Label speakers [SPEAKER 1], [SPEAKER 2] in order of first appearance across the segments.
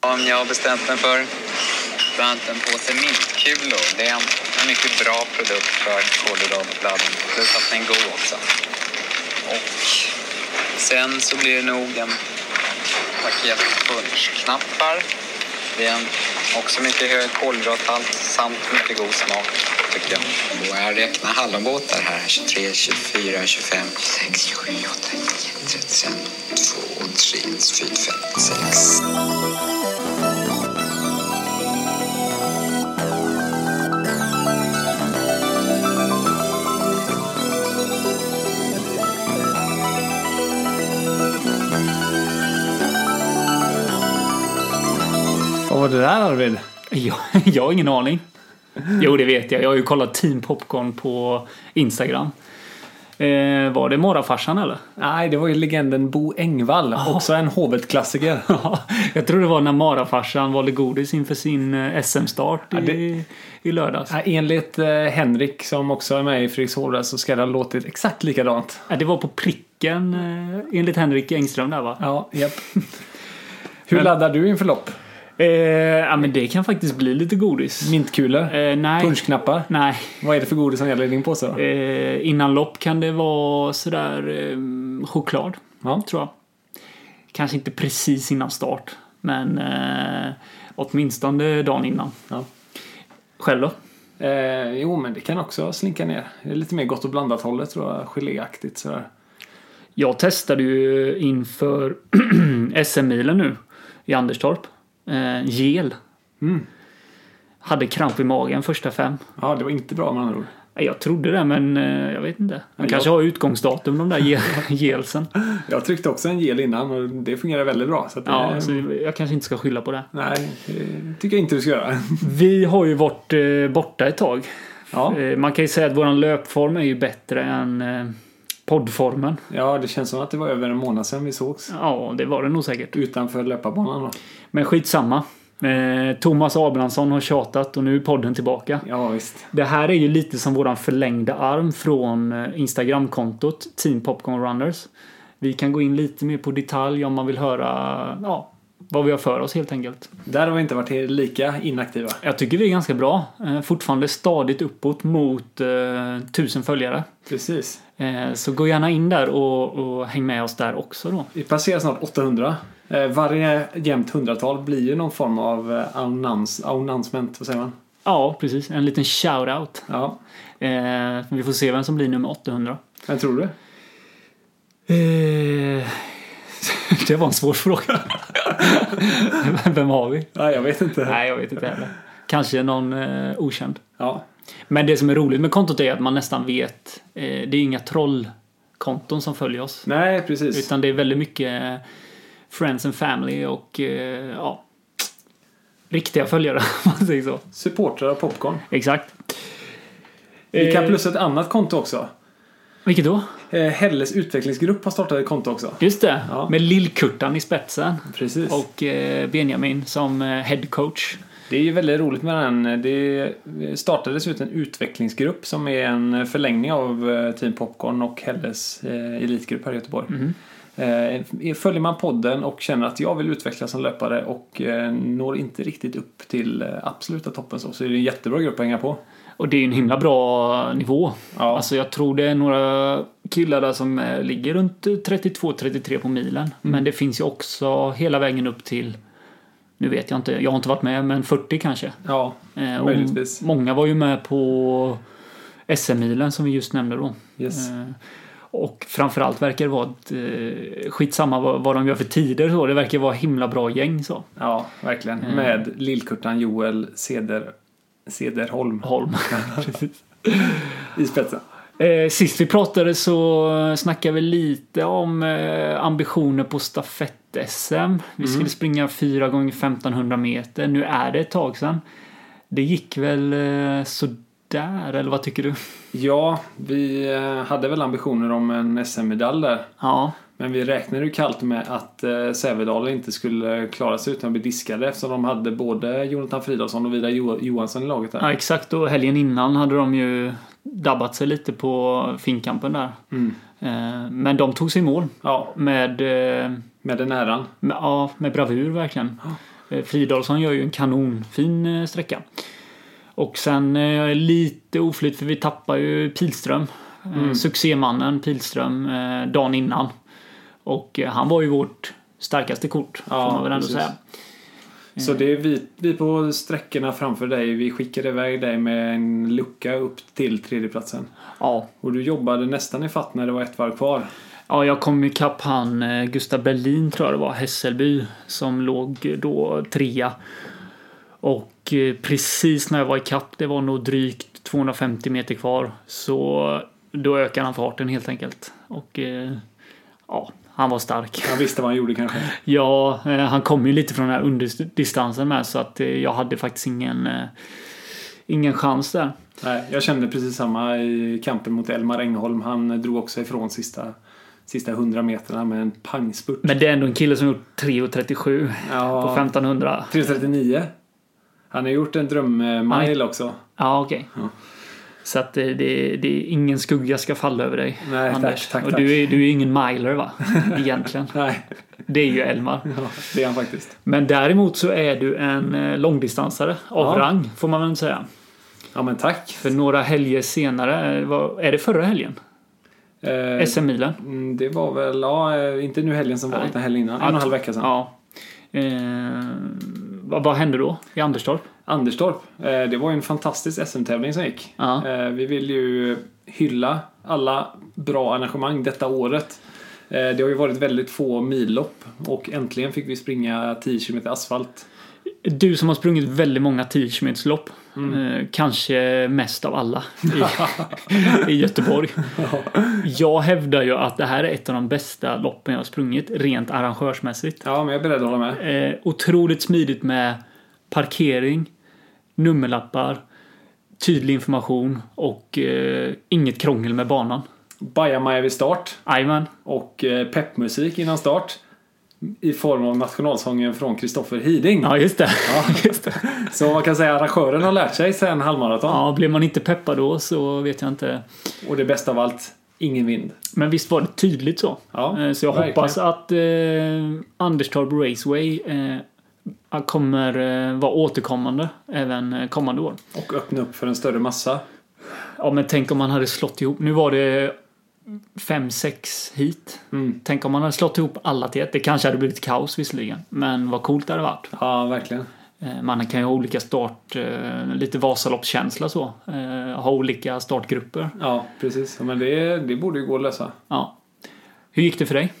[SPEAKER 1] Om jag har bestämt mig för bland annat en påse mintkulor. Det är en, en mycket bra produkt för kolhydratuppladdning. Plus att den är god också. Och sen så blir det nog en paket punschknappar. Det är en också mycket hög kolhydrathalt samt mycket god smak tycker jag. Och jag räknar hallonbåtar här. 23, 24, 25, 26, 27, 28, 29, 30, 2, 3, 4, 5, 6.
[SPEAKER 2] Vad var det där Arvid?
[SPEAKER 3] Jag, jag har ingen aning. Jo, det vet jag. Jag har ju kollat Team Popcorn på Instagram. Eh, var det Morrafarsan eller?
[SPEAKER 2] Nej, det var ju legenden Bo Engvall. Också en hovet-klassiker.
[SPEAKER 3] Ja, jag tror det var när Marafarsan valde godis inför sin eh, SM-start i,
[SPEAKER 2] det-
[SPEAKER 3] i lördags.
[SPEAKER 2] Nej, Enligt eh, Henrik som också är med i Fredriksholm så ska det ha låtit exakt likadant.
[SPEAKER 3] Nej, det var på pricken eh, enligt Henrik Engström där va?
[SPEAKER 2] Ja, japp. Hur laddar du inför lopp?
[SPEAKER 3] Eh, ja men det kan faktiskt bli lite godis.
[SPEAKER 2] Mintkulor?
[SPEAKER 3] Eh, nej.
[SPEAKER 2] Punschknappar?
[SPEAKER 3] Nej.
[SPEAKER 2] Vad är det för godis som gäller i din påse då?
[SPEAKER 3] Eh, innan lopp kan det vara sådär eh, choklad.
[SPEAKER 2] Ja.
[SPEAKER 3] tror jag. Kanske inte precis innan start, men eh, åtminstone dagen innan.
[SPEAKER 2] Ja.
[SPEAKER 3] Själv då?
[SPEAKER 2] Eh, jo, men det kan också slinka ner. Det är lite mer gott och blandat hållet tror jag. Geléaktigt sådär.
[SPEAKER 3] Jag testade ju inför SM-milen nu i Anderstorp. Eh, gel.
[SPEAKER 2] Mm.
[SPEAKER 3] Hade kramp i magen första fem.
[SPEAKER 2] Ja, det var inte bra med andra ord.
[SPEAKER 3] Eh, Jag trodde det, men eh, jag vet inte. De
[SPEAKER 2] jag-
[SPEAKER 3] kanske har utgångsdatum de där gel- gelsen.
[SPEAKER 2] Jag tryckte också en gel innan och det fungerade väldigt bra. Så att,
[SPEAKER 3] Ja,
[SPEAKER 2] eh,
[SPEAKER 3] så jag kanske inte ska skylla på det.
[SPEAKER 2] Nej, det tycker jag inte du ska göra.
[SPEAKER 3] Vi har ju varit eh, borta ett tag.
[SPEAKER 2] Ja,
[SPEAKER 3] Eh, Man kan ju säga att våran löpform är ju bättre än eh, poddformen.
[SPEAKER 2] ja, det känns som att det var över en månad sedan vi sågs.
[SPEAKER 3] Ja, det var det nog säkert.
[SPEAKER 2] Utanför löparbanan då.
[SPEAKER 3] Men skitsamma. Eh, Thomas Abrahamsson har tjatat och nu är podden tillbaka.
[SPEAKER 2] Ja, visst.
[SPEAKER 3] Det här är ju lite som våran förlängda arm från eh, Instagramkontot Team Popcorn Runners. Vi kan gå in lite mer på detalj om man vill höra ja, vad vi har för oss helt enkelt.
[SPEAKER 2] Där har vi inte varit lika inaktiva.
[SPEAKER 3] Jag tycker vi är ganska bra. Eh, Fortfarande stadigt uppåt mot eh, 1000 följare.
[SPEAKER 2] Precis.
[SPEAKER 3] Eh, Så gå gärna in där och, och häng med oss där också då.
[SPEAKER 2] Vi passerar snart 800. Eh, Varje jämnt hundratal blir ju någon form av eh, annons, announcement, vad säger man?
[SPEAKER 3] Ja, precis. En liten shout-out.
[SPEAKER 2] Ja,
[SPEAKER 3] Eh, vi får se vem som blir nummer 800.
[SPEAKER 2] vem tror du?
[SPEAKER 3] Eh, det var en svår fråga. vem har vi?
[SPEAKER 2] Ja, jag vet inte.
[SPEAKER 3] Nej, jag vet inte heller. Kanske någon eh, okänd.
[SPEAKER 2] Ja,
[SPEAKER 3] Men det som är roligt med kontot är att man nästan vet. Eh, det är inga trollkonton som följer oss.
[SPEAKER 2] nej precis.
[SPEAKER 3] Utan det är väldigt mycket eh, friends and family och eh, ja, riktiga följare om man säger så.
[SPEAKER 2] Supportrar av popcorn.
[SPEAKER 3] Exakt.
[SPEAKER 2] Vi kan
[SPEAKER 3] Eh,
[SPEAKER 2] plussa ett annat konto också.
[SPEAKER 3] Vilket då?
[SPEAKER 2] Eh, Helles utvecklingsgrupp har startat ett konto också.
[SPEAKER 3] Just det,
[SPEAKER 2] Ja.
[SPEAKER 3] med Lill-Kurtan i spetsen.
[SPEAKER 2] Precis.
[SPEAKER 3] Och eh, Benjamin som eh, head coach.
[SPEAKER 2] Det är ju väldigt roligt med den. Det startades ut en utvecklingsgrupp som är en förlängning av eh, Team Popcorn och Helles eh, elitgrupp här i Göteborg. Eh, Följer man podden och känner att jag vill utvecklas som löpare och eh, når inte riktigt upp till eh, absoluta toppen så, så är det en jättebra grupp att hänga på.
[SPEAKER 3] Och det är ju en himla bra nivå.
[SPEAKER 2] Ja.
[SPEAKER 3] Alltså jag tror det är några killar där som eh, ligger runt 32-33 på milen.
[SPEAKER 2] Mm.
[SPEAKER 3] Men det finns ju också hela vägen upp till, nu vet jag inte, jag har inte varit med, men 40 kanske.
[SPEAKER 2] Ja,
[SPEAKER 3] Eh, och
[SPEAKER 2] Möjligtvis.
[SPEAKER 3] Många var ju med på SM-milen som vi just nämnde då.
[SPEAKER 2] yes.
[SPEAKER 3] Eh, Och framförallt verkar det vara ett, eh, skitsamma vad, vad de gör för tider så. Det verkar vara himla bra gäng så.
[SPEAKER 2] Ja, verkligen. Med Lillkurtan Joel Ceder, Cederholm
[SPEAKER 3] Holm. Precis.
[SPEAKER 2] i spetsen.
[SPEAKER 3] Eh, Sist vi pratade så snackade vi lite om eh, ambitioner på stafett-SM. Vi skulle springa 4 gånger 1500 meter. Nu är det ett tag sedan. Det gick väl eh, sådär, eller vad tycker du?
[SPEAKER 2] Ja, vi eh, hade väl ambitioner om en SM-medalj där.
[SPEAKER 3] Ja,
[SPEAKER 2] Men vi räknade ju kallt med att eh, Sävedalen inte skulle klara sig utan att bli diskade eftersom de hade både Jonathan Fridolfsson och Vidar Jo- Johansson i laget där.
[SPEAKER 3] Ja, exakt. Och helgen innan hade de ju dabbat sig lite på finkampen där. Eh, Men de tog sig i mål
[SPEAKER 2] Ja,
[SPEAKER 3] med, eh,
[SPEAKER 2] med den äran.
[SPEAKER 3] med, ja, med bravur verkligen. Eh, Fridolfsson gör ju en kanonfin eh, sträcka. Och sen eh, lite oflyt för vi tappar ju Pilström. Eh, succémannen Pilström eh, dagen innan. Och eh, han var ju vårt starkaste kort
[SPEAKER 2] Ja,
[SPEAKER 3] får man väl ändå
[SPEAKER 2] precis.
[SPEAKER 3] säga.
[SPEAKER 2] Så det är vi, vi på sträckorna framför dig, vi skickade iväg dig med en lucka upp till tredjeplatsen.
[SPEAKER 3] Ja.
[SPEAKER 2] Och du jobbade nästan i fatt när det var ett varv kvar.
[SPEAKER 3] Ja, jag kom ikapp han eh, Gustav Berlin tror jag det var, Hässelby, som låg då trea. Och eh, precis när jag var ikapp, det var nog drygt 250 meter kvar, så då ökade han farten helt enkelt. Och eh, ja, han var stark.
[SPEAKER 2] Han visste vad han gjorde kanske.
[SPEAKER 3] Ja, eh, han kom ju lite från den här underdistansen med så att eh, jag hade faktiskt ingen, eh, ingen chans där.
[SPEAKER 2] Nej, jag kände precis samma i kampen mot Elmar Engholm. Han drog också ifrån sista, sista 100 meterna med en pangspurt.
[SPEAKER 3] Men det är ändå en kille som gjort 3.37 på
[SPEAKER 2] Ja,
[SPEAKER 3] 1500.
[SPEAKER 2] 339. Han har gjort en drömmile också.
[SPEAKER 3] Ja, okej. Så att det, det, det är ingen skugga ska falla över dig,
[SPEAKER 2] Nej, tack,
[SPEAKER 3] Anders.
[SPEAKER 2] tack,
[SPEAKER 3] Och
[SPEAKER 2] tack.
[SPEAKER 3] du är, du är ingen miler, va? Egentligen.
[SPEAKER 2] Nej,
[SPEAKER 3] Det är ju Elmar.
[SPEAKER 2] ja, det är han faktiskt.
[SPEAKER 3] Men däremot så är du en eh, långdistansare av
[SPEAKER 2] Ja.
[SPEAKER 3] rang, får man väl säga.
[SPEAKER 2] Ja, men tack.
[SPEAKER 3] För några helger senare, eh, var, är det förra helgen?
[SPEAKER 2] Eh,
[SPEAKER 3] SM-milen?
[SPEAKER 2] mm, det var väl, ja, eh, inte nu helgen som var,
[SPEAKER 3] Nej.
[SPEAKER 2] utan helgen innan. En och en halv vecka sedan.
[SPEAKER 3] Ja. Eh, vad, vad hände då i Anderstorp?
[SPEAKER 2] Anderstorp. eh, Det var ju en fantastisk SM-tävling som gick.
[SPEAKER 3] Ja.
[SPEAKER 2] Eh, Vi vill ju hylla alla bra arrangemang detta året. Eh, Det har ju varit väldigt få millopp och äntligen fick vi springa 10 km asfalt.
[SPEAKER 3] Du som har sprungit väldigt många 10 lopp eh, kanske mest av alla i, i Göteborg. Jag hävdar ju att det här är ett av de bästa loppen jag har sprungit rent arrangörsmässigt.
[SPEAKER 2] Ja, men jag är beredd att hålla med.
[SPEAKER 3] Eh, otroligt smidigt med parkering, nummerlappar, tydlig information och eh, inget krångel med banan.
[SPEAKER 2] Bajamaja vid start
[SPEAKER 3] Jajamän.
[SPEAKER 2] och eh, peppmusik innan start i form av nationalsången från Kristoffer Hiding.
[SPEAKER 3] Ja, just det. Ja. just det.
[SPEAKER 2] Så man kan säga att arrangören har lärt sig sen halvmaraton.
[SPEAKER 3] Ja, blev man inte peppad då så vet jag inte.
[SPEAKER 2] Och det bästa av allt, ingen vind.
[SPEAKER 3] Men visst var det tydligt så?
[SPEAKER 2] Ja,
[SPEAKER 3] Eh, Så jag
[SPEAKER 2] verkligen.
[SPEAKER 3] hoppas att eh, Anderstorp Raceway eh, kommer eh, vara återkommande även eh, kommande år.
[SPEAKER 2] Och öppna upp för en större massa.
[SPEAKER 3] Ja, men tänk om man hade slått ihop. Nu var det 5-6 hit.
[SPEAKER 2] Mm.
[SPEAKER 3] Tänk om man hade slått ihop alla till ett. Det kanske hade blivit kaos visserligen, men vad coolt det hade varit.
[SPEAKER 2] Ja, verkligen.
[SPEAKER 3] Eh, Man kan ju ha olika start, eh, lite Vasaloppskänsla så. Eh, Ha olika startgrupper.
[SPEAKER 2] Ja, precis. Ja, Men det, det borde ju gå att lösa.
[SPEAKER 3] Ja. Hur gick det för dig?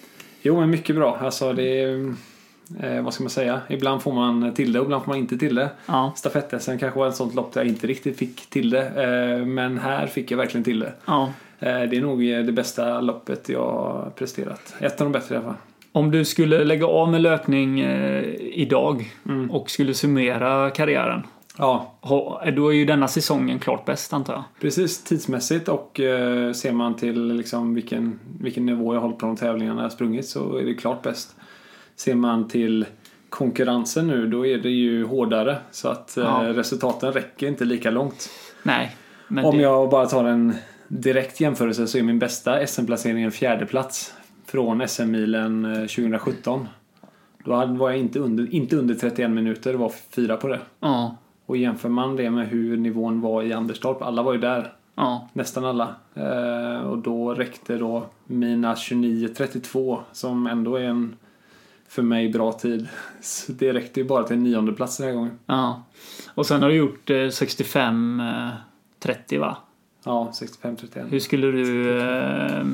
[SPEAKER 2] Jo, men mycket bra. Alltså, det är, eh, vad ska man säga? Ibland får man till det, ibland får man inte till det.
[SPEAKER 3] Ja.
[SPEAKER 2] Stafettsen kanske var en sånt lopp där jag inte riktigt fick till det. Eh, men här fick jag verkligen till det.
[SPEAKER 3] ja.
[SPEAKER 2] Eh, det är nog eh, det bästa loppet jag har presterat. Ett av de bättre i alla fall.
[SPEAKER 3] Om du skulle lägga av med löpning eh, idag
[SPEAKER 2] Mm.
[SPEAKER 3] och skulle summera karriären.
[SPEAKER 2] Ja,
[SPEAKER 3] ha- Då är ju denna säsongen klart bäst antar jag.
[SPEAKER 2] precis. Tidsmässigt och eh, ser man till liksom vilken, vilken nivå jag håller på de tävlingarna jag sprungit så är det klart bäst. Ser man till konkurrensen nu, då är det ju hårdare. Så att eh,
[SPEAKER 3] Ja.
[SPEAKER 2] resultaten räcker inte lika långt.
[SPEAKER 3] Nej. Men
[SPEAKER 2] Om
[SPEAKER 3] det,
[SPEAKER 2] jag bara tar en direkt jämförelse så är min bästa SM-placering en fjärde plats från SM-milen eh, 2017. Då hade- var jag inte under, inte under 31 minuter, det var fyra på det.
[SPEAKER 3] ja,
[SPEAKER 2] Och jämför man det med hur nivån var i Anderstorp, alla var ju där,
[SPEAKER 3] ja,
[SPEAKER 2] nästan alla. Eh, och då räckte då mina 29.32 som ändå är en för mig bra tid. Så det räckte ju bara till en nionde plats den här gången.
[SPEAKER 3] ja. Och sen har du gjort eh, 65 eh, 30 va?
[SPEAKER 2] Ja, 65.31.
[SPEAKER 3] Hur skulle du eh,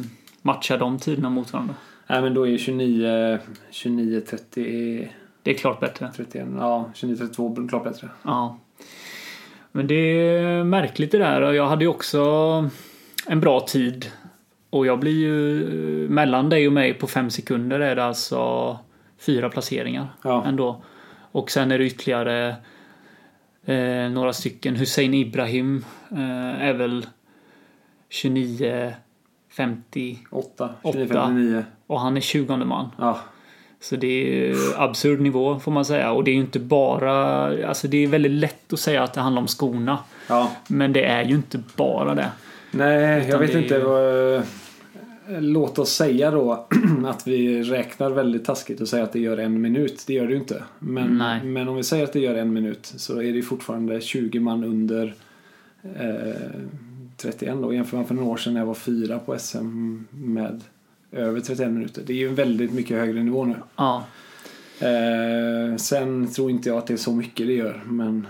[SPEAKER 3] matcha de tiderna mot varandra?
[SPEAKER 2] Nej men då är 29, 29 30,
[SPEAKER 3] Det är klart bättre.
[SPEAKER 2] 31, ja 29 32 klart bättre.
[SPEAKER 3] Ja. Men det är märkligt det där. Och Jag hade ju också en bra tid. Och jag blir ju... Mellan dig och mig på fem sekunder är det alltså fyra placeringar
[SPEAKER 2] Ja.
[SPEAKER 3] ändå. Och sen är det ytterligare eh, några stycken. Hussein Ibrahim eh, är väl 29, 50
[SPEAKER 2] 8, 29
[SPEAKER 3] Åtta.
[SPEAKER 2] 59.
[SPEAKER 3] och han är 20 man.
[SPEAKER 2] Ja,
[SPEAKER 3] Så det är ju absurd nivå får man säga. Och det är ju inte bara... Alltså det är väldigt lätt att säga att det handlar om skorna.
[SPEAKER 2] ja.
[SPEAKER 3] Men det är ju inte bara det.
[SPEAKER 2] Nej, jag
[SPEAKER 3] Utan
[SPEAKER 2] vet
[SPEAKER 3] det är
[SPEAKER 2] inte
[SPEAKER 3] ju-
[SPEAKER 2] vad eh, låt oss säga då att vi räknar väldigt taskigt och säger att det gör en minut. Det gör det ju inte. Men,
[SPEAKER 3] Nej.
[SPEAKER 2] men om vi säger att det gör en minut så är det ju fortfarande 20 man under eh, 31 då. Jämför man för några år sedan när jag var fyra på SM med över 31 minuter. Det är ju en väldigt mycket högre nivå nu.
[SPEAKER 3] Ja.
[SPEAKER 2] Eh, sen tror inte jag att det är så mycket det gör, men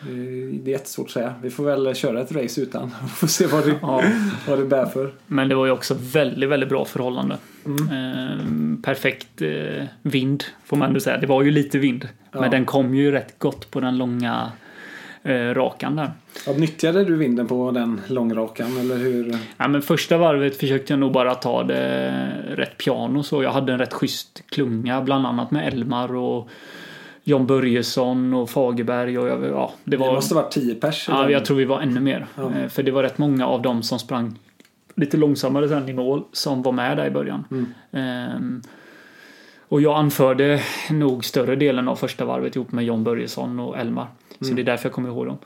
[SPEAKER 2] eh, det är jättesvårt att säga. Vi får väl köra ett race utan och får se vad det,
[SPEAKER 3] ja.
[SPEAKER 2] vad det bär för.
[SPEAKER 3] Men det var ju också väldigt, väldigt bra förhållande. Ehm, perfekt eh, vind får man ändå säga. Det var ju lite vind.
[SPEAKER 2] Ja.
[SPEAKER 3] Men den kom ju rätt gott på den långa eh, rakan där.
[SPEAKER 2] Ja, nyttjade du vinden på den långrakan eller hur?
[SPEAKER 3] Ja, men första varvet försökte jag nog bara ta det rätt piano så. Jag hade en rätt schysst klunga bland annat med Elmar och John Börjesson och Fagerberg och jag, ja, det
[SPEAKER 2] Det
[SPEAKER 3] var...
[SPEAKER 2] måste ha varit 10 pers. i
[SPEAKER 3] Ja,
[SPEAKER 2] den.
[SPEAKER 3] jag tror vi var ännu mer.
[SPEAKER 2] Ja.
[SPEAKER 3] Eh, För det var rätt många av dem som sprang lite långsammare sen i mål som var med där i början. Ehm, och jag anförde nog större delen av första varvet ihop med John Börjesson och Elmar. Så det är därför jag kommer ihåg dem.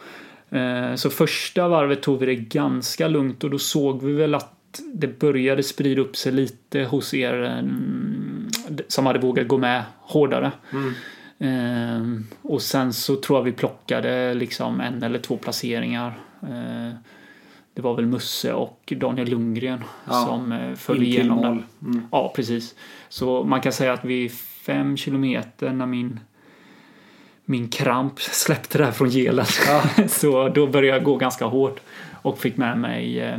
[SPEAKER 3] Eh, Så första varvet tog vi det ganska lugnt och då såg vi väl att det började sprida upp sig lite hos er mm, som hade vågat gå med hårdare. Ehm, och sen så tror jag vi plockade liksom en eller två placeringar. Ehm, det var väl Musse och Daniel Lundgren
[SPEAKER 2] Ja,
[SPEAKER 3] som eh,
[SPEAKER 2] In
[SPEAKER 3] föll
[SPEAKER 2] till
[SPEAKER 3] igenom
[SPEAKER 2] mål.
[SPEAKER 3] den.
[SPEAKER 2] Mm.
[SPEAKER 3] Ja, precis. Så man kan säga att vid fem kilometer när min, min kramp släppte där från gelen så då började jag gå ganska hårt och fick med mig eh,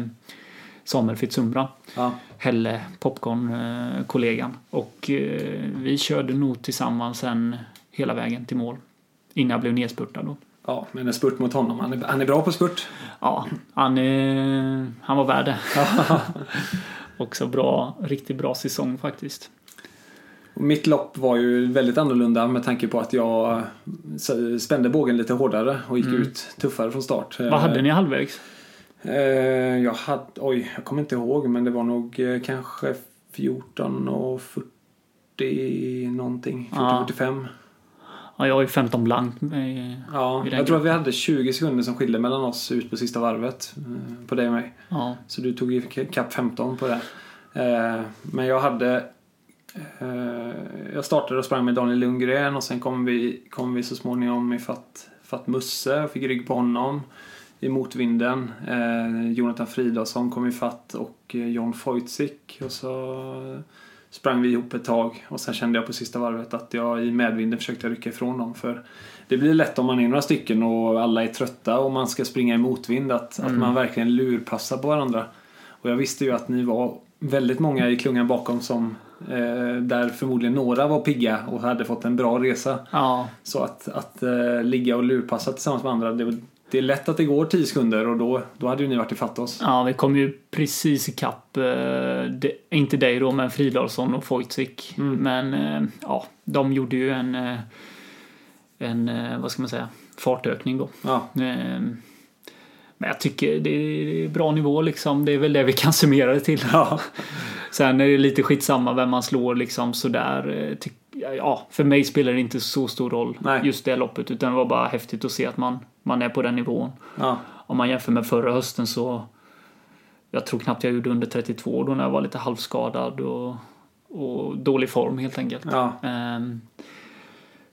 [SPEAKER 3] Samuel Fitzumbrand.
[SPEAKER 2] Ja.
[SPEAKER 3] Helle, popcorn-kollegan. Och eh, vi körde nog tillsammans sen hela vägen till mål. Innan jag blev nedspurtad då.
[SPEAKER 2] ja, men en spurt mot honom. Han är, han är bra på spurt.
[SPEAKER 3] Ja, han, eh, han var värd det. Också bra, riktigt bra säsong faktiskt.
[SPEAKER 2] Och Mitt lopp var ju väldigt annorlunda med tanke på att jag eh, s- spände bågen lite hårdare och gick ut tuffare från start.
[SPEAKER 3] Mm. Vad hade ni halvvägs?
[SPEAKER 2] Eh, jag hade, oj, jag kommer inte ihåg men det var nog eh, kanske 14 och 40 någonting. 14
[SPEAKER 3] Ja.
[SPEAKER 2] 45.
[SPEAKER 3] Ja, jag har ju 15 blankt. eh,
[SPEAKER 2] Ja,
[SPEAKER 3] Vid den
[SPEAKER 2] jag tror att vi hade 20 sekunder som skilde mellan oss ut på sista varvet. eh, På dig och mig.
[SPEAKER 3] Ja,
[SPEAKER 2] Så du tog ju kapp 15 på det. Eh, Men jag hade... eh, Jag startade och sprang med Daniel Lundgren och sen kom vi, kom vi så småningom ifatt, ifatt Musse och fick rygg på honom i motvinden. Eh, Jonathan Fridasson kom ifatt och eh, John Foytzik och så sprang vi ihop ett tag och sen kände jag på sista varvet att jag i medvinden försökte rycka ifrån dem för det blir lätt om man är några stycken och alla är trötta och man ska springa i motvind att, att man verkligen lurpassar på varandra. Och jag visste ju att ni var väldigt många i klungan bakom som eh, där förmodligen några var pigga och hade fått en bra resa.
[SPEAKER 3] ja,
[SPEAKER 2] Så att, att eh, ligga och lurpassa tillsammans med andra, det, det är lätt att det går 10 sekunder och då, då hade ju ni varit ifatt oss.
[SPEAKER 3] ja vi kom ju precis ikapp, eh, det, inte dig då, men Fridolfsson och Foytzik. Men eh, ja, de gjorde ju en, eh, en, eh, vad ska man säga, fartökning då.
[SPEAKER 2] Ja,
[SPEAKER 3] Eh, Men jag tycker det är bra nivå liksom. Det är väl det vi kan summera det till.
[SPEAKER 2] ja.
[SPEAKER 3] Sen är det lite skitsamma vem man slår liksom sådär. eh, Ty- ja, för mig spelar det inte så stor roll
[SPEAKER 2] Nej.
[SPEAKER 3] just det loppet. Utan det var bara häftigt att se att man, man är på den nivån.
[SPEAKER 2] ja.
[SPEAKER 3] Om man jämför med förra hösten så jag tror knappt jag gjorde under 32 då när jag var lite halvskadad och, och dålig form helt enkelt.
[SPEAKER 2] ja.
[SPEAKER 3] Ehm,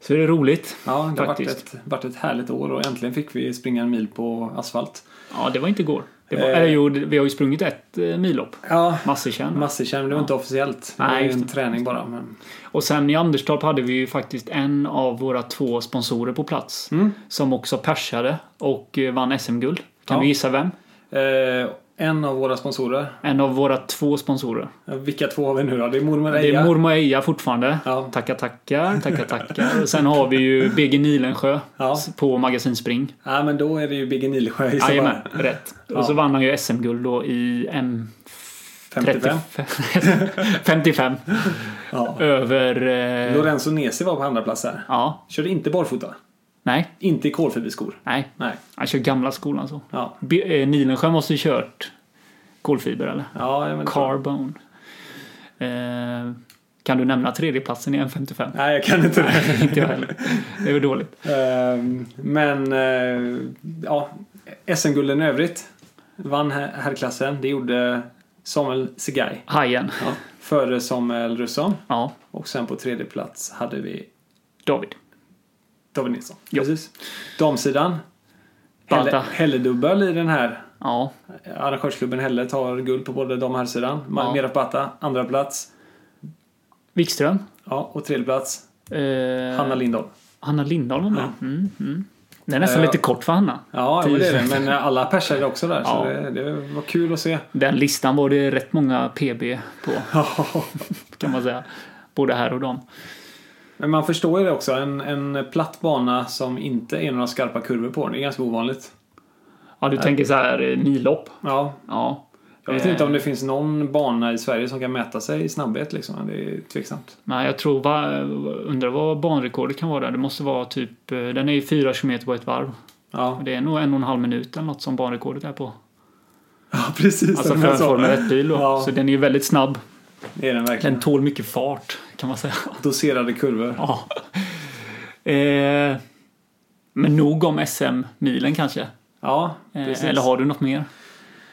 [SPEAKER 3] så det är roligt.
[SPEAKER 2] Ja, det har varit
[SPEAKER 3] Faktiskt.
[SPEAKER 2] ett, varit ett härligt år och äntligen fick vi springa en mil på asfalt.
[SPEAKER 3] Ja, det var inte igår. Det var,
[SPEAKER 2] Eh.
[SPEAKER 3] eller jo, det- vi har ju sprungit ett eh, millopp.
[SPEAKER 2] Ja,
[SPEAKER 3] Massetjärn.
[SPEAKER 2] Massikärn, men det var inte officiellt.
[SPEAKER 3] Nej,
[SPEAKER 2] det var ju
[SPEAKER 3] just
[SPEAKER 2] en träning bara. Men...
[SPEAKER 3] Och sen i Anderstorp hade vi ju faktiskt en av våra två sponsorer på plats.
[SPEAKER 2] Mm.
[SPEAKER 3] Som också persade och eh, vann SM-guld. Kan
[SPEAKER 2] Ja.
[SPEAKER 3] du gissa vem?
[SPEAKER 2] Eh, en av våra sponsorer.
[SPEAKER 3] En av våra två sponsorer.
[SPEAKER 2] Eh, Vilka två har vi nu då? Det är Mormor
[SPEAKER 3] Det
[SPEAKER 2] Eja.
[SPEAKER 3] är mormor Eija fortfarande.
[SPEAKER 2] Ja.
[SPEAKER 3] Tackar, tackar, tackar, tackar. Och sen har vi ju BG Nilensjö
[SPEAKER 2] Ja.
[SPEAKER 3] på Magasin Spring.
[SPEAKER 2] Ja, men då är det ju Bigge Nilsjö i så
[SPEAKER 3] Jajamän,
[SPEAKER 2] fall.
[SPEAKER 3] rätt.
[SPEAKER 2] Ja.
[SPEAKER 3] Och så vann han ju SM-guld då i M...
[SPEAKER 2] 55.
[SPEAKER 3] 55.
[SPEAKER 2] Ja.
[SPEAKER 3] Över... eh,
[SPEAKER 2] Lorenzo Nesi var på andra plats här.
[SPEAKER 3] Ja,
[SPEAKER 2] Körde inte barfota.
[SPEAKER 3] nej,
[SPEAKER 2] Inte i kolfiberskor.
[SPEAKER 3] nej.
[SPEAKER 2] Nej.
[SPEAKER 3] Han kör gamla skolan så.
[SPEAKER 2] Ja.
[SPEAKER 3] Be- eh, Nilensjö måste ju kört kolfiber eller?
[SPEAKER 2] Ja, jag vet inte.
[SPEAKER 3] Carbone. Eh, kan du nämna tredjeplatsen i M55?
[SPEAKER 2] Nej, jag kan inte det.
[SPEAKER 3] Inte jag heller. Det var dåligt.
[SPEAKER 2] Ehm, Men eh, ja, SM-gulden i övrigt. Vann här- herrklassen. Det gjorde Samuel Segay.
[SPEAKER 3] Hajen.
[SPEAKER 2] Ja. Före Samuel Russon.
[SPEAKER 3] Ja,
[SPEAKER 2] Och sen på tredje plats hade vi
[SPEAKER 3] David.
[SPEAKER 2] David Nilsson.
[SPEAKER 3] Ja.
[SPEAKER 2] Precis. Damsidan. Helle-
[SPEAKER 3] Balta.
[SPEAKER 2] Helledubbel i den här.
[SPEAKER 3] Ja,
[SPEAKER 2] Arrangörsklubben Helle tar guld på både dam och herrsidan.
[SPEAKER 3] Ja.
[SPEAKER 2] Ja. Merab Bata, andra plats.
[SPEAKER 3] Wikström.
[SPEAKER 2] Ja, och tredje plats
[SPEAKER 3] Eh,
[SPEAKER 2] Hanna Lindahl.
[SPEAKER 3] Hanna Lindahl var med. Mm, mm. Det är nästan
[SPEAKER 2] Eh,
[SPEAKER 3] lite kort för Hanna.
[SPEAKER 2] Ja, jo, det är det. Men alla persade också där.
[SPEAKER 3] Ja.
[SPEAKER 2] Så det, det var kul att se.
[SPEAKER 3] Den listan var det rätt många PB på,
[SPEAKER 2] Ja.
[SPEAKER 3] kan man säga. Både här och dem.
[SPEAKER 2] Men man förstår ju det också. En, en platt bana som inte är några skarpa kurvor på. Det är ganska ovanligt.
[SPEAKER 3] Ja, du tänker så här eh, millopp.
[SPEAKER 2] Ja,
[SPEAKER 3] Ja.
[SPEAKER 2] jag vet inte om det finns någon bana i Sverige som kan mäta sig i snabbhet liksom. Det är tveksamt.
[SPEAKER 3] Nej, jag tror, va, undrar vad banrekordet kan vara där. Det måste vara typ, eh, den är ju 4 km på ett varv.
[SPEAKER 2] Ja,
[SPEAKER 3] Det är nog en och en halv minut eller något som banrekordet är på.
[SPEAKER 2] ja precis.
[SPEAKER 3] Alltså
[SPEAKER 2] som
[SPEAKER 3] för
[SPEAKER 2] jag
[SPEAKER 3] en
[SPEAKER 2] sa.
[SPEAKER 3] Formel 1-bil då.
[SPEAKER 2] Ja,
[SPEAKER 3] Så den är ju väldigt snabb.
[SPEAKER 2] det är den verkligen.
[SPEAKER 3] Den tål mycket fart kan man säga.
[SPEAKER 2] Doserade kurvor.
[SPEAKER 3] Ja. Eh, men nog om SM-milen kanske.
[SPEAKER 2] Ja, precis.
[SPEAKER 3] Eh, eller har du något mer?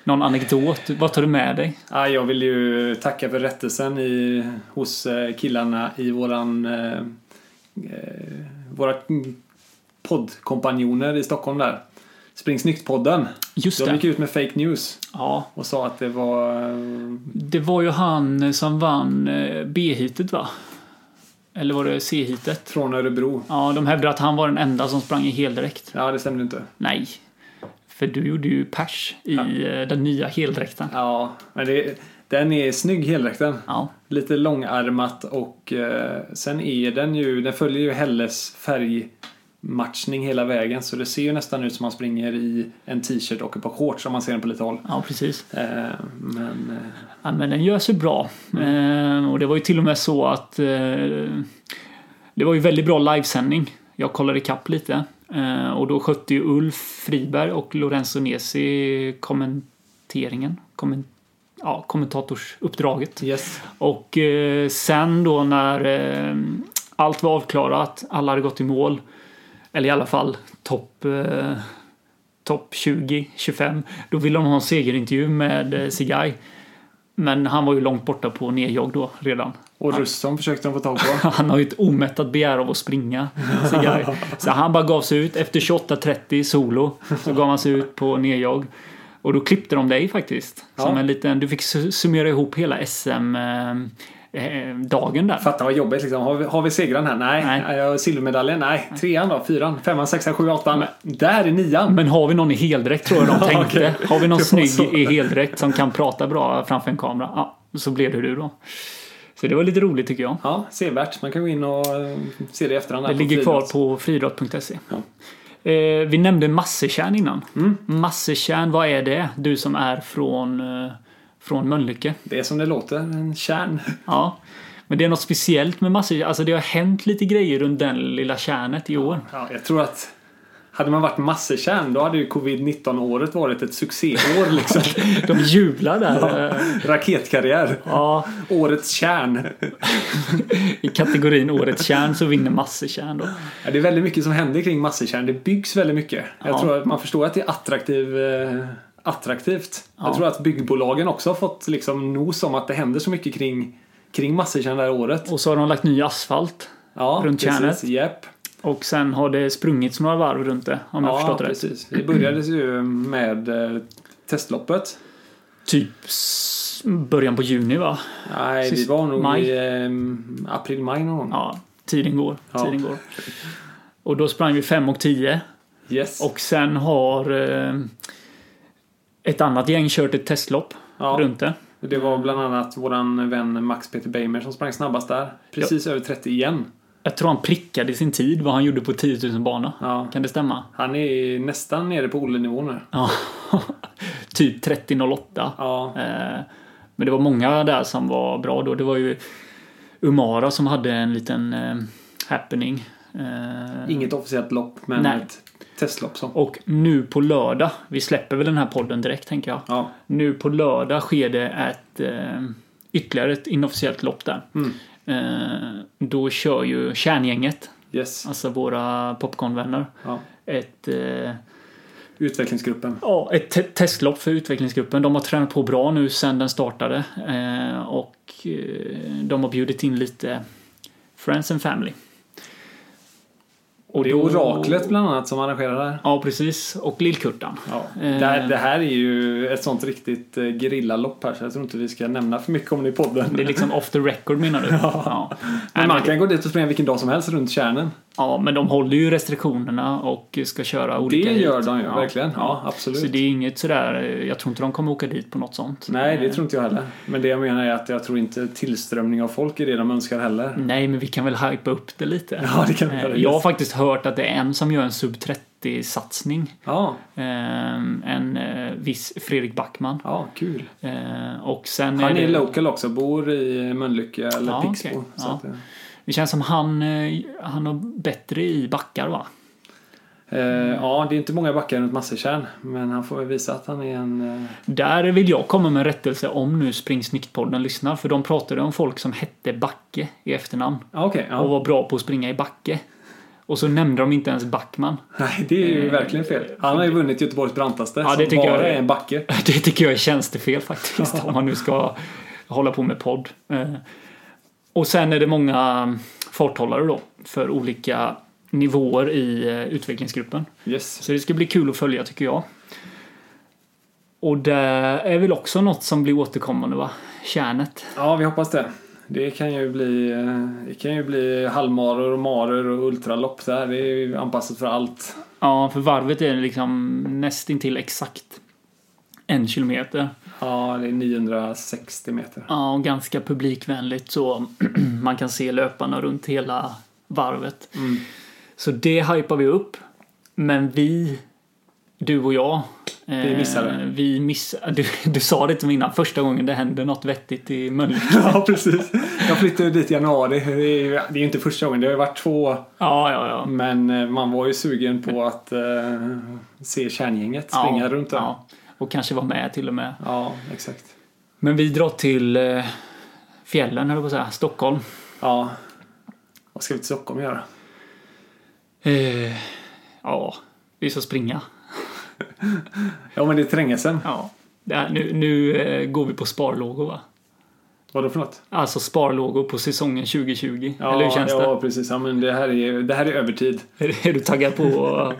[SPEAKER 3] Någon anekdot? Vad tar du med dig?
[SPEAKER 2] Ja, jag vill ju tacka för rättelsen i, hos eh, killarna i våran, eh, eh, våra mm, poddkompanjoner i Stockholm där. Spring Snyggt-podden.
[SPEAKER 3] Just
[SPEAKER 2] De gick
[SPEAKER 3] det.
[SPEAKER 2] ut med fake news
[SPEAKER 3] Ja,
[SPEAKER 2] och sa att det var... eh,
[SPEAKER 3] det var ju han som vann eh, B-heatet va? Eller var det C-heatet?
[SPEAKER 2] från Örebro.
[SPEAKER 3] Ja, de hävdade att han var den enda som sprang i heldräkt.
[SPEAKER 2] Ja, det stämde inte.
[SPEAKER 3] Nej. För du gjorde ju pers i eh, den nya heldräkten.
[SPEAKER 2] Ja, men det, den är snygg heldräkten.
[SPEAKER 3] Ja.
[SPEAKER 2] Lite långarmat och eh, sen är den ju, den följer ju Helles färgmatchning hela vägen så det ser ju nästan ut som man springer i en t-shirt och ett par shorts om man ser den på lite håll.
[SPEAKER 3] Ja, precis.
[SPEAKER 2] Eh, men eh,
[SPEAKER 3] Ja, men den gör sig bra. Eh, och det var ju till och med så att eh, det var ju väldigt bra livesändning. Jag kollade ikapp lite eh, och då skötte ju Ulf Friberg och Lorenzo Nesi kommenteringen. Kommen, ja, kommentatorsuppdraget.
[SPEAKER 2] yes.
[SPEAKER 3] Och eh, sen då när eh, allt var avklarat, alla hade gått i mål, eller i alla fall topp eh, top 20-25, då ville de ha en segerintervju med eh, Sigai. Men han var ju långt borta på nedjag då redan.
[SPEAKER 2] Och Ruston försökte de få tag på.
[SPEAKER 3] Han har ju ett omättat begär av att springa. Sigai. Så han bara gav sig ut efter 28.30 solo. Så gav han sig ut på nedjag. Och då klippte de dig faktiskt. Som
[SPEAKER 2] Ja.
[SPEAKER 3] en liten, du fick su- summera ihop hela SM-dagen eh, där.
[SPEAKER 2] Fatta vad jobbigt liksom. Har vi, har vi segran här? Nej.
[SPEAKER 3] Nej.
[SPEAKER 2] Nej. Eh, Silvermedaljen? Nej. Trean då? Fyran? Femman, sexan, sjuan, åttan? Där är nian!
[SPEAKER 3] Men har vi någon i heldräkt tror jag de
[SPEAKER 2] Ja,
[SPEAKER 3] tänkte.
[SPEAKER 2] okej.
[SPEAKER 3] Har vi någon
[SPEAKER 2] Det var
[SPEAKER 3] snygg
[SPEAKER 2] så.
[SPEAKER 3] i heldräkt som kan prata bra framför en kamera? Ja, så blev det du då. Så det var lite roligt tycker jag.
[SPEAKER 2] Ja, sevärt. Man kan gå in och eh, se det i efterhand.
[SPEAKER 3] Det
[SPEAKER 2] där på
[SPEAKER 3] ligger kvar
[SPEAKER 2] friidrotts.
[SPEAKER 3] på friidrott.se. Eh, vi nämnde massetjärn innan. Mm. Massetjärn, vad är det? Du som är från, eh, från Mölnlycke.
[SPEAKER 2] Det är som det låter. En kärn.
[SPEAKER 3] Ja. Men det är något speciellt med massetjärn. Alltså det har hänt lite grejer runt den lilla kärnet i år.
[SPEAKER 2] Ja, jag tror att hade man varit massekärn då hade ju covid-19-året varit ett succéår liksom.
[SPEAKER 3] De jublar där. eh,
[SPEAKER 2] Raketkarriär.
[SPEAKER 3] Ja,
[SPEAKER 2] Årets kärn.
[SPEAKER 3] i kategorin Årets kärn så vinner massetjärn då.
[SPEAKER 2] Ja, det är väldigt mycket som händer kring massekärn. Det byggs väldigt mycket. Jag
[SPEAKER 3] Ja.
[SPEAKER 2] tror att man förstår att det är attraktiv, eh, attraktivt.
[SPEAKER 3] Ja.
[SPEAKER 2] Jag tror att byggbolagen också har fått liksom nos om att det händer så mycket kring, kring massekärn det här året.
[SPEAKER 3] Och så har de lagt ny asfalt.
[SPEAKER 2] Ja,
[SPEAKER 3] runt kärnet.
[SPEAKER 2] Japp.
[SPEAKER 3] Och sen har det sprungits några varv runt det, om jag har
[SPEAKER 2] Ja,
[SPEAKER 3] förstått det rätt.
[SPEAKER 2] precis. Det började ju med eh, testloppet.
[SPEAKER 3] Typ s- början på juni va?
[SPEAKER 2] Nej, vi
[SPEAKER 3] Sist-
[SPEAKER 2] var nog
[SPEAKER 3] maj.
[SPEAKER 2] i eh, april-maj någon gång.
[SPEAKER 3] Ja, tiden går.
[SPEAKER 2] Ja.
[SPEAKER 3] Tiden går. Och då sprang vi 5 och 10.
[SPEAKER 2] Yes.
[SPEAKER 3] Och sen har eh, ett annat gäng kört ett testlopp
[SPEAKER 2] Ja.
[SPEAKER 3] runt det.
[SPEAKER 2] Det var bland annat våran vän Max Peter Beimer som sprang snabbast där. Precis över 30 igen.
[SPEAKER 3] Jag tror han prickade sin tid, vad han gjorde på 10 000 bana.
[SPEAKER 2] Ja.
[SPEAKER 3] Kan det stämma?
[SPEAKER 2] Han är nästan nere på Olle-nivå nu.
[SPEAKER 3] Ja. typ 30.08.
[SPEAKER 2] Ja,
[SPEAKER 3] Eh, Men det var många där som var bra då. Det var ju Umara som hade en liten eh, happening. Eh,
[SPEAKER 2] inget officiellt lopp men
[SPEAKER 3] Nej.
[SPEAKER 2] ett testlopp som.
[SPEAKER 3] Och nu på lördag, vi släpper väl den här podden direkt tänker jag.
[SPEAKER 2] Ja,
[SPEAKER 3] Nu på lördag sker det ett, eh, ytterligare ett inofficiellt lopp där.
[SPEAKER 2] Mm.
[SPEAKER 3] Eh, då kör ju kärngänget,
[SPEAKER 2] yes.
[SPEAKER 3] alltså våra popcornvänner,
[SPEAKER 2] Ja.
[SPEAKER 3] ett eh,
[SPEAKER 2] utvecklingsgruppen.
[SPEAKER 3] Ja, ett te- testlopp för utvecklingsgruppen. De har tränat på bra nu sedan den startade. Eh, och eh, de har bjudit in lite Friends and Family.
[SPEAKER 2] Och det är
[SPEAKER 3] då-
[SPEAKER 2] Oraklet bland annat som arrangerar det här.
[SPEAKER 3] Ja, precis. Och Lillkurtan.
[SPEAKER 2] Ja.
[SPEAKER 3] Eh.
[SPEAKER 2] Det, här, det här är ju ett sånt riktigt eh, gerillalopp här så jag tror inte vi ska nämna för mycket om det i podden.
[SPEAKER 3] Det är liksom off the record menar du? Ja. Nej,
[SPEAKER 2] Men man
[SPEAKER 3] men,
[SPEAKER 2] kan gå dit och springa vilken dag som helst runt kärnen.
[SPEAKER 3] ja, men de håller ju restriktionerna och ska köra
[SPEAKER 2] Det
[SPEAKER 3] olika
[SPEAKER 2] gör
[SPEAKER 3] hit.
[SPEAKER 2] de ju,
[SPEAKER 3] Ja.
[SPEAKER 2] verkligen. Ja, absolut.
[SPEAKER 3] Så det är inget sådär, eh, jag tror inte de kommer åka dit på något sånt.
[SPEAKER 2] Nej, det tror inte jag heller. Men det jag menar är att jag tror inte tillströmning av folk är det de önskar heller.
[SPEAKER 3] Nej, men vi kan väl hypa upp det lite.
[SPEAKER 2] Ja, det kan vi
[SPEAKER 3] Eh,
[SPEAKER 2] göra.
[SPEAKER 3] Jag har faktiskt hört att det är en som gör en sub 30-satsning.
[SPEAKER 2] Ja,
[SPEAKER 3] En eh, viss Fredrik Backman.
[SPEAKER 2] ja, kul.
[SPEAKER 3] Eh, Och sen
[SPEAKER 2] Han
[SPEAKER 3] det,
[SPEAKER 2] är local också, bor i Mölnlycke eller
[SPEAKER 3] Ja,
[SPEAKER 2] Pixbo.
[SPEAKER 3] okej.
[SPEAKER 2] Så
[SPEAKER 3] Ja.
[SPEAKER 2] att, eh,
[SPEAKER 3] det känns som han, eh, han har bättre i backar va?
[SPEAKER 2] eh, ja, det är inte många backar runt Massekärn, men han får väl visa att han är en... eh,
[SPEAKER 3] Där vill jag komma med en rättelse om nu Spring Snyggt-podden lyssnar. För de pratade om folk som hette Backe i efternamn.
[SPEAKER 2] Ja, okej.
[SPEAKER 3] Och
[SPEAKER 2] ja.
[SPEAKER 3] var bra på att springa i backe. Och så nämnde de inte ens Backman.
[SPEAKER 2] Nej, det är ju verkligen fel. Han har ju vunnit Göteborgs brantaste,
[SPEAKER 3] Eh, det
[SPEAKER 2] som
[SPEAKER 3] tycker jag
[SPEAKER 2] bara
[SPEAKER 3] är-
[SPEAKER 2] är en backe.
[SPEAKER 3] Det tycker jag är tjänstefel faktiskt om man nu ska hålla på med podd. Eh, Och sen är det många farthållare då för olika nivåer i eh, utvecklingsgruppen.
[SPEAKER 2] Yes.
[SPEAKER 3] Så det ska bli kul att följa tycker jag. Och det är väl också något som blir återkommande va? Kärnet.
[SPEAKER 2] Ja, vi hoppas det. Det kan ju bli, eh, det kan ju bli halvmaror och maror och ultralopp där. Det är ju anpassat för allt.
[SPEAKER 3] Ja, för varvet är liksom nästintill exakt en kilometer.
[SPEAKER 2] Ja, det är 960 meter.
[SPEAKER 3] Ja, och ganska publikvänligt så man kan se löparna runt hela varvet.
[SPEAKER 2] Mm.
[SPEAKER 3] Så det hypar vi upp. Men vi, du och jag. eh,
[SPEAKER 2] Vi missar det.
[SPEAKER 3] Vi missar, du, du sa det till mig innan, första gången det händer något vettigt i Mölnlycke.
[SPEAKER 2] Ja, precis. Jag flyttade dit i januari. Det är ju det är ju inte första gången, det har ju varit två.
[SPEAKER 3] Ja, ja, ja.
[SPEAKER 2] Men eh, man var ju sugen på att eh, se kärngänget springa
[SPEAKER 3] ja,
[SPEAKER 2] runt där. Ja.
[SPEAKER 3] Ja. Och kanske vara med till och med.
[SPEAKER 2] exakt.
[SPEAKER 3] Men vi drar till eh, fjällen, höll jag på att säga, Stockholm.
[SPEAKER 2] Ja. Vad ska vi till Stockholm göra?
[SPEAKER 3] Eh, ja, vi ska springa.
[SPEAKER 2] Ja, men det är Trängelsen.
[SPEAKER 3] Ja. Det här, nu nu eh, går vi på sparlågor va?
[SPEAKER 2] Vadå för något?
[SPEAKER 3] Alltså sparlågor på säsongen 2020. Eller hur känns
[SPEAKER 2] ja, precis. Ja, men det här är, det här är övertid.
[SPEAKER 3] det? Är, är du taggad på att...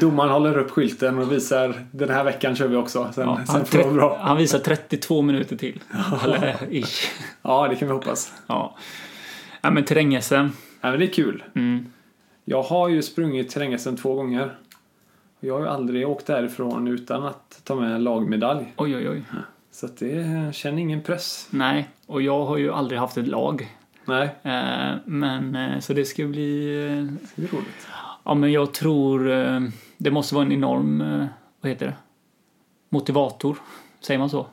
[SPEAKER 2] Domaren håller upp skylten och visar den här veckan kör vi också. Sen,
[SPEAKER 3] Ja,
[SPEAKER 2] sen
[SPEAKER 3] han,
[SPEAKER 2] får det vara
[SPEAKER 3] tre-
[SPEAKER 2] bra.
[SPEAKER 3] han visar 32 minuter till. Eller ish.
[SPEAKER 2] Ja, det kan vi hoppas.
[SPEAKER 3] Ja. ja men terräng-SM.
[SPEAKER 2] Ja, men det är kul.
[SPEAKER 3] Mm.
[SPEAKER 2] Jag har ju sprungit Trängelsen två gånger. Jag har ju aldrig åkt därifrån utan att ta med en lagmedalj.
[SPEAKER 3] Oj, oj, oj.
[SPEAKER 2] Så att det jag känner ingen press.
[SPEAKER 3] Nej, och jag har ju aldrig haft ett lag.
[SPEAKER 2] Nej,
[SPEAKER 3] Eh, Men eh, så det ska bli... eh,
[SPEAKER 2] det är roligt.
[SPEAKER 3] Ja men jag tror eh, det måste vara en enorm, eh, vad heter det? Motivator, säger man så?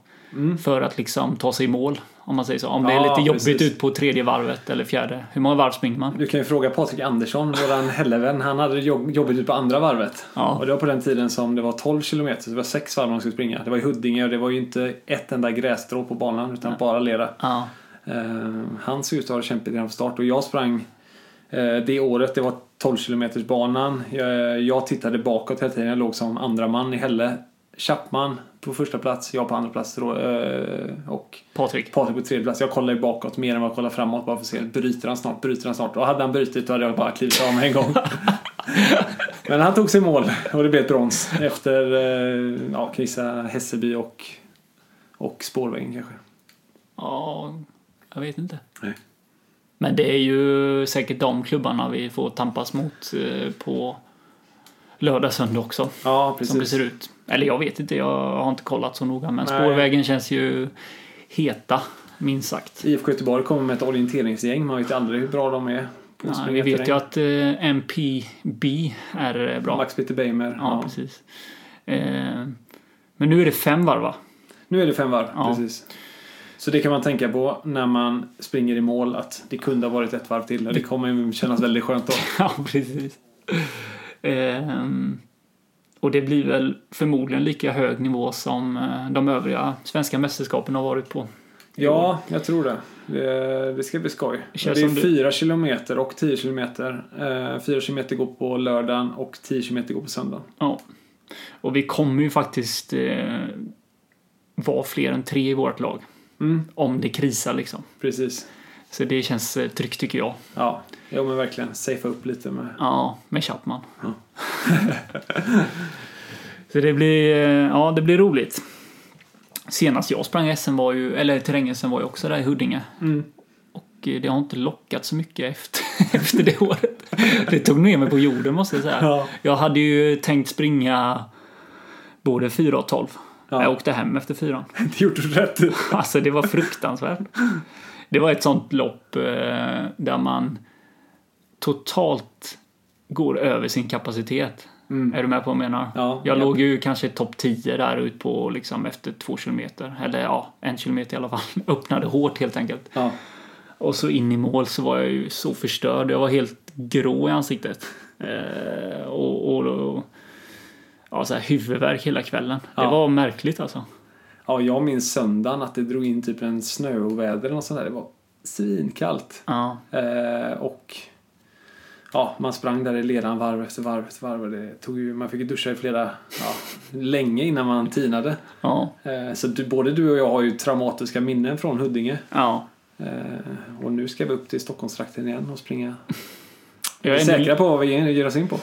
[SPEAKER 3] För att liksom ta sig i mål, om man säger så. Om det är
[SPEAKER 2] Mm. Ja,
[SPEAKER 3] lite jobbigt
[SPEAKER 2] precis.
[SPEAKER 3] ut på tredje varvet eller fjärde. Hur många varv springer man?
[SPEAKER 2] Du kan ju fråga Patrik Andersson, våran hellevän. Han hade jobb, jobbigt ut på andra varvet.
[SPEAKER 3] Ja.
[SPEAKER 2] Och det var på den tiden som det var 12 kilometer, så det var sex varv man skulle springa. Det var i Huddinge och det var ju inte ett enda grässtrå på banan utan bara lera.
[SPEAKER 3] Ja,
[SPEAKER 2] Eh, han såg ut att ha det kämpigt redan från start och jag sprang eh, det året, det var 12 kilometers banan. Jag, jag tittade bakåt hela tiden, jag låg som andra man i Helle. Chapman på första plats, jag på andra plats då, eh, och
[SPEAKER 3] Patrik.
[SPEAKER 2] Patrik på tredje plats. Jag kollar ju bakåt mer än vad jag kollar framåt bara för att se. Bryter han snart? Bryter han snart? Och hade han brutit då hade jag bara klivit av mig en gång. Men han tog sig i mål och det blev ett brons efter, eh, ja, kan gissa Hässelby och, och spårvägen kanske.
[SPEAKER 3] Ja, jag vet inte.
[SPEAKER 2] Nej.
[SPEAKER 3] Men det är ju säkert de klubbarna vi får tampas mot eh, på lördag, söndag också.
[SPEAKER 2] Ja,
[SPEAKER 3] Som det
[SPEAKER 2] precis.
[SPEAKER 3] ser ut. Eller jag vet inte, jag har inte kollat så noga. Men
[SPEAKER 2] Nej.
[SPEAKER 3] spårvägen känns ju heta, minst sagt.
[SPEAKER 2] IFK Göteborg kommer med ett orienteringsgäng. Man vet ju aldrig hur bra de är. på
[SPEAKER 3] Nej,
[SPEAKER 2] att springa
[SPEAKER 3] vi vet
[SPEAKER 2] terräng.
[SPEAKER 3] ju att eh, MPB är bra.
[SPEAKER 2] Max Peter Beimer.
[SPEAKER 3] ja,
[SPEAKER 2] Ja.
[SPEAKER 3] precis. Eh, men nu är det fem varv va?
[SPEAKER 2] Nu är det fem varv,
[SPEAKER 3] Ja.
[SPEAKER 2] precis. Så det kan man tänka på när man springer i mål att det kunde ha varit ett varv till. och Det kommer kännas väldigt skönt då.
[SPEAKER 3] ja, precis. Eh, och det blir väl förmodligen lika hög nivå som eh, de övriga svenska mästerskapen har varit på.
[SPEAKER 2] Ja, jag tror det. Det, det ska bli skoj.
[SPEAKER 3] Det
[SPEAKER 2] Det
[SPEAKER 3] känns
[SPEAKER 2] är
[SPEAKER 3] som det-
[SPEAKER 2] 4 kilometer och 10 kilometer. Eh, 4 kilometer går på lördagen och 10 kilometer går på söndagen.
[SPEAKER 3] Ja. Och vi kommer ju faktiskt eh, vara fler än tre i vårt lag.
[SPEAKER 2] Mm,
[SPEAKER 3] Om det krisar liksom.
[SPEAKER 2] precis.
[SPEAKER 3] Så det känns eh, tryggt tycker jag.
[SPEAKER 2] Ja, jo men verkligen. Safea upp lite med...
[SPEAKER 3] Ja, med Chapman.
[SPEAKER 2] Ja.
[SPEAKER 3] så det blir, eh, ja, det blir roligt. Senast jag sprang SM var ju, eller terräng-SM var ju också där i Huddinge.
[SPEAKER 2] Mm.
[SPEAKER 3] Och eh, det har inte lockat så mycket efter, efter det året. Det tog ner mig på jorden måste jag säga.
[SPEAKER 2] Ja.
[SPEAKER 3] Jag hade ju tänkt springa både 4 och 12.
[SPEAKER 2] Ja.
[SPEAKER 3] Jag åkte hem efter 4.
[SPEAKER 2] Det gjorde du rätt i.
[SPEAKER 3] Alltså det var fruktansvärt. Det var ett sånt lopp eh, där man totalt går över sin kapacitet.
[SPEAKER 2] Mm.
[SPEAKER 3] Är du med på vad jag menar?
[SPEAKER 2] Ja,
[SPEAKER 3] jag
[SPEAKER 2] ja.
[SPEAKER 3] låg ju kanske topp 10 där ut på liksom efter två kilometer. Eller ja, en kilometer i alla fall. Öppnade hårt helt enkelt.
[SPEAKER 2] Ja.
[SPEAKER 3] Och så in i mål så var jag ju så förstörd. Jag var helt grå i ansiktet. Eh, och, och, och ja, så här huvudvärk hela kvällen. Det
[SPEAKER 2] Ja.
[SPEAKER 3] var märkligt alltså.
[SPEAKER 2] ja, jag minns söndagen att det drog in typ en snöoväder eller något sånt där. Det var svinkallt.
[SPEAKER 3] Ja.
[SPEAKER 2] Eh, och ja, man sprang där i ledan varv efter varv efter varv. Och det tog ju, man fick ju duscha i flera, ja, länge innan man tinade.
[SPEAKER 3] Ja.
[SPEAKER 2] Eh, så du, både du och jag har ju traumatiska minnen från Huddinge.
[SPEAKER 3] ja.
[SPEAKER 2] Eh, och nu ska vi upp till Stockholmstrakten igen och springa. Vi
[SPEAKER 3] Jag
[SPEAKER 2] är
[SPEAKER 3] är ändå-
[SPEAKER 2] säkra på vad vi ger oss in på.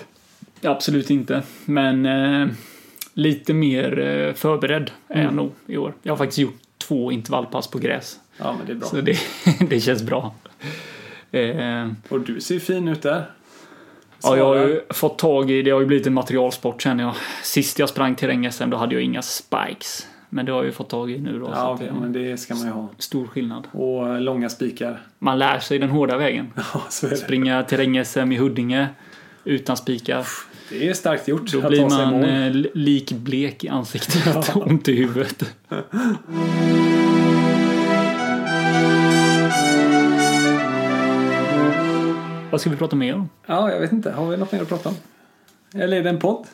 [SPEAKER 3] Absolut inte, men eh, lite mer eh, förberedd är
[SPEAKER 2] Mm.
[SPEAKER 3] jag nog i år. Jag har faktiskt gjort två intervallpass på gräs,
[SPEAKER 2] Ja, men det är bra.
[SPEAKER 3] så det, det känns bra. Eh,
[SPEAKER 2] Och du ser ju fin ut där.
[SPEAKER 3] ja, jag har
[SPEAKER 2] Svarar.
[SPEAKER 3] ju fått tag i, det har ju blivit en materialsport känner jag. Sist jag sprang terräng-SM då hade jag inga spikes, men det har jag ju fått tag i nu då. så
[SPEAKER 2] Ja,
[SPEAKER 3] att det är
[SPEAKER 2] men det ska man ju ha.
[SPEAKER 3] Stor skillnad.
[SPEAKER 2] Och eh, långa spikar.
[SPEAKER 3] Man lär sig den hårda vägen.
[SPEAKER 2] Ja, så är det.
[SPEAKER 3] Springa terräng-SM i Huddinge utan spikar.
[SPEAKER 2] Det är starkt gjort.
[SPEAKER 3] Då
[SPEAKER 2] att
[SPEAKER 3] blir
[SPEAKER 2] ta sig i
[SPEAKER 3] man
[SPEAKER 2] mål.
[SPEAKER 3] eh, li- likblek i ansiktet, ont i huvudet. Vad ska vi prata mer om?
[SPEAKER 2] Ja, jag vet inte. Har vi något mer att prata om? Eller är det en podd?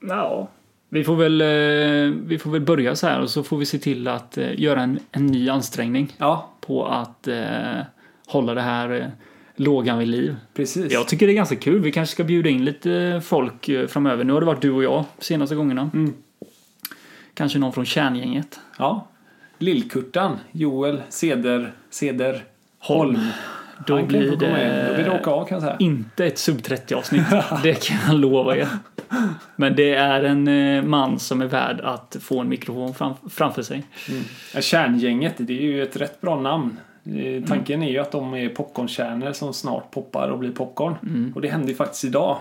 [SPEAKER 3] Ja. Vi får, väl, eh, vi får väl börja så här och så får vi se till att eh, göra en, en ny ansträngning
[SPEAKER 2] Ja,
[SPEAKER 3] på att eh, hålla det här eh, lågan vid liv.
[SPEAKER 2] precis.
[SPEAKER 3] Jag tycker det är ganska kul. Vi kanske ska bjuda in lite folk eh, framöver. Nu har det varit du och jag senaste gångerna.
[SPEAKER 2] Mm.
[SPEAKER 3] Kanske någon från kärngänget.
[SPEAKER 2] Ja. Lillkurtan, Joel, Seder, Seder, Holm.
[SPEAKER 3] Mm. Då
[SPEAKER 2] Han kan ju
[SPEAKER 3] blir
[SPEAKER 2] få komma
[SPEAKER 3] det-
[SPEAKER 2] in. Då blir det åka av kan jag säga.
[SPEAKER 3] Inte ett sub 30 avsnitt, det kan jag lova er. Men det är en eh, man som är värd att få en mikrofon fram, framför sig.
[SPEAKER 2] Ja, Kärngänget, det är ju ett rätt bra namn.
[SPEAKER 3] Mm.
[SPEAKER 2] Eh, Tanken är ju att de är popcornkärnor som snart poppar och blir popcorn.
[SPEAKER 3] Mm.
[SPEAKER 2] Och det hände ju faktiskt idag.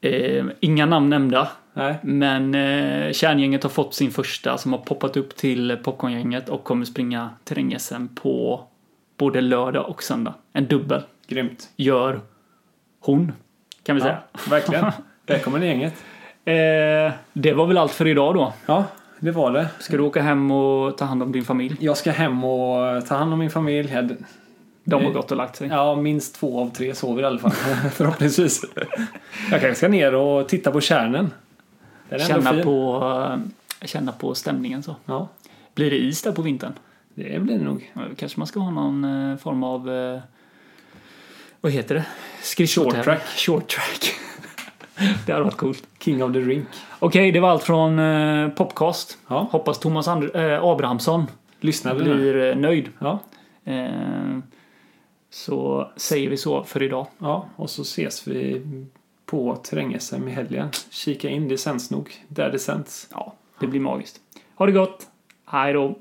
[SPEAKER 3] Eh, inga namn nämnda,
[SPEAKER 2] Nej.
[SPEAKER 3] men eh, kärngänget har fått sin första som har poppat upp till popcorngänget och kommer springa terräng-SM på både lördag och söndag. En dubbel
[SPEAKER 2] Grymt.
[SPEAKER 3] gör hon, kan vi
[SPEAKER 2] Ja,
[SPEAKER 3] säga.
[SPEAKER 2] verkligen. Välkommen i gänget.
[SPEAKER 3] Eh, det var väl allt för idag då.
[SPEAKER 2] Ja, det var det.
[SPEAKER 3] Ska du åka hem och ta hand om din familj?
[SPEAKER 2] Jag ska hem och ta hand om min familj. Jag-
[SPEAKER 3] De har gått och lagt sig.
[SPEAKER 2] Mm. Ja, minst två av tre sover i alla fall. Förhoppningsvis. Jag kanske ska ner och titta på kärnen. Den är ändå
[SPEAKER 3] Känna
[SPEAKER 2] fin.
[SPEAKER 3] på, eh, känna på stämningen så.
[SPEAKER 2] Ja,
[SPEAKER 3] Blir det is där på vintern?
[SPEAKER 2] det blir det nog.
[SPEAKER 3] Eh, Kanske man ska ha någon eh, form av... eh, Vad heter det? Skridskotävling.
[SPEAKER 2] Short track.
[SPEAKER 3] Short track. det hade varit coolt.
[SPEAKER 2] King of the Rink.
[SPEAKER 3] Okej, det var allt från eh, Popcast.
[SPEAKER 2] Ja.
[SPEAKER 3] Hoppas Thomas And- eh, Abrahamsson
[SPEAKER 2] Lyssnar du nu?
[SPEAKER 3] blir eh, nöjd.
[SPEAKER 2] Ja,
[SPEAKER 3] Eh, så säger vi så för idag.
[SPEAKER 2] ja, och så ses vi på terräng-SM i helgen. Kika in, det sänds nog där det sänds.
[SPEAKER 3] Ja, det blir magiskt. Ha det gott! Hej då!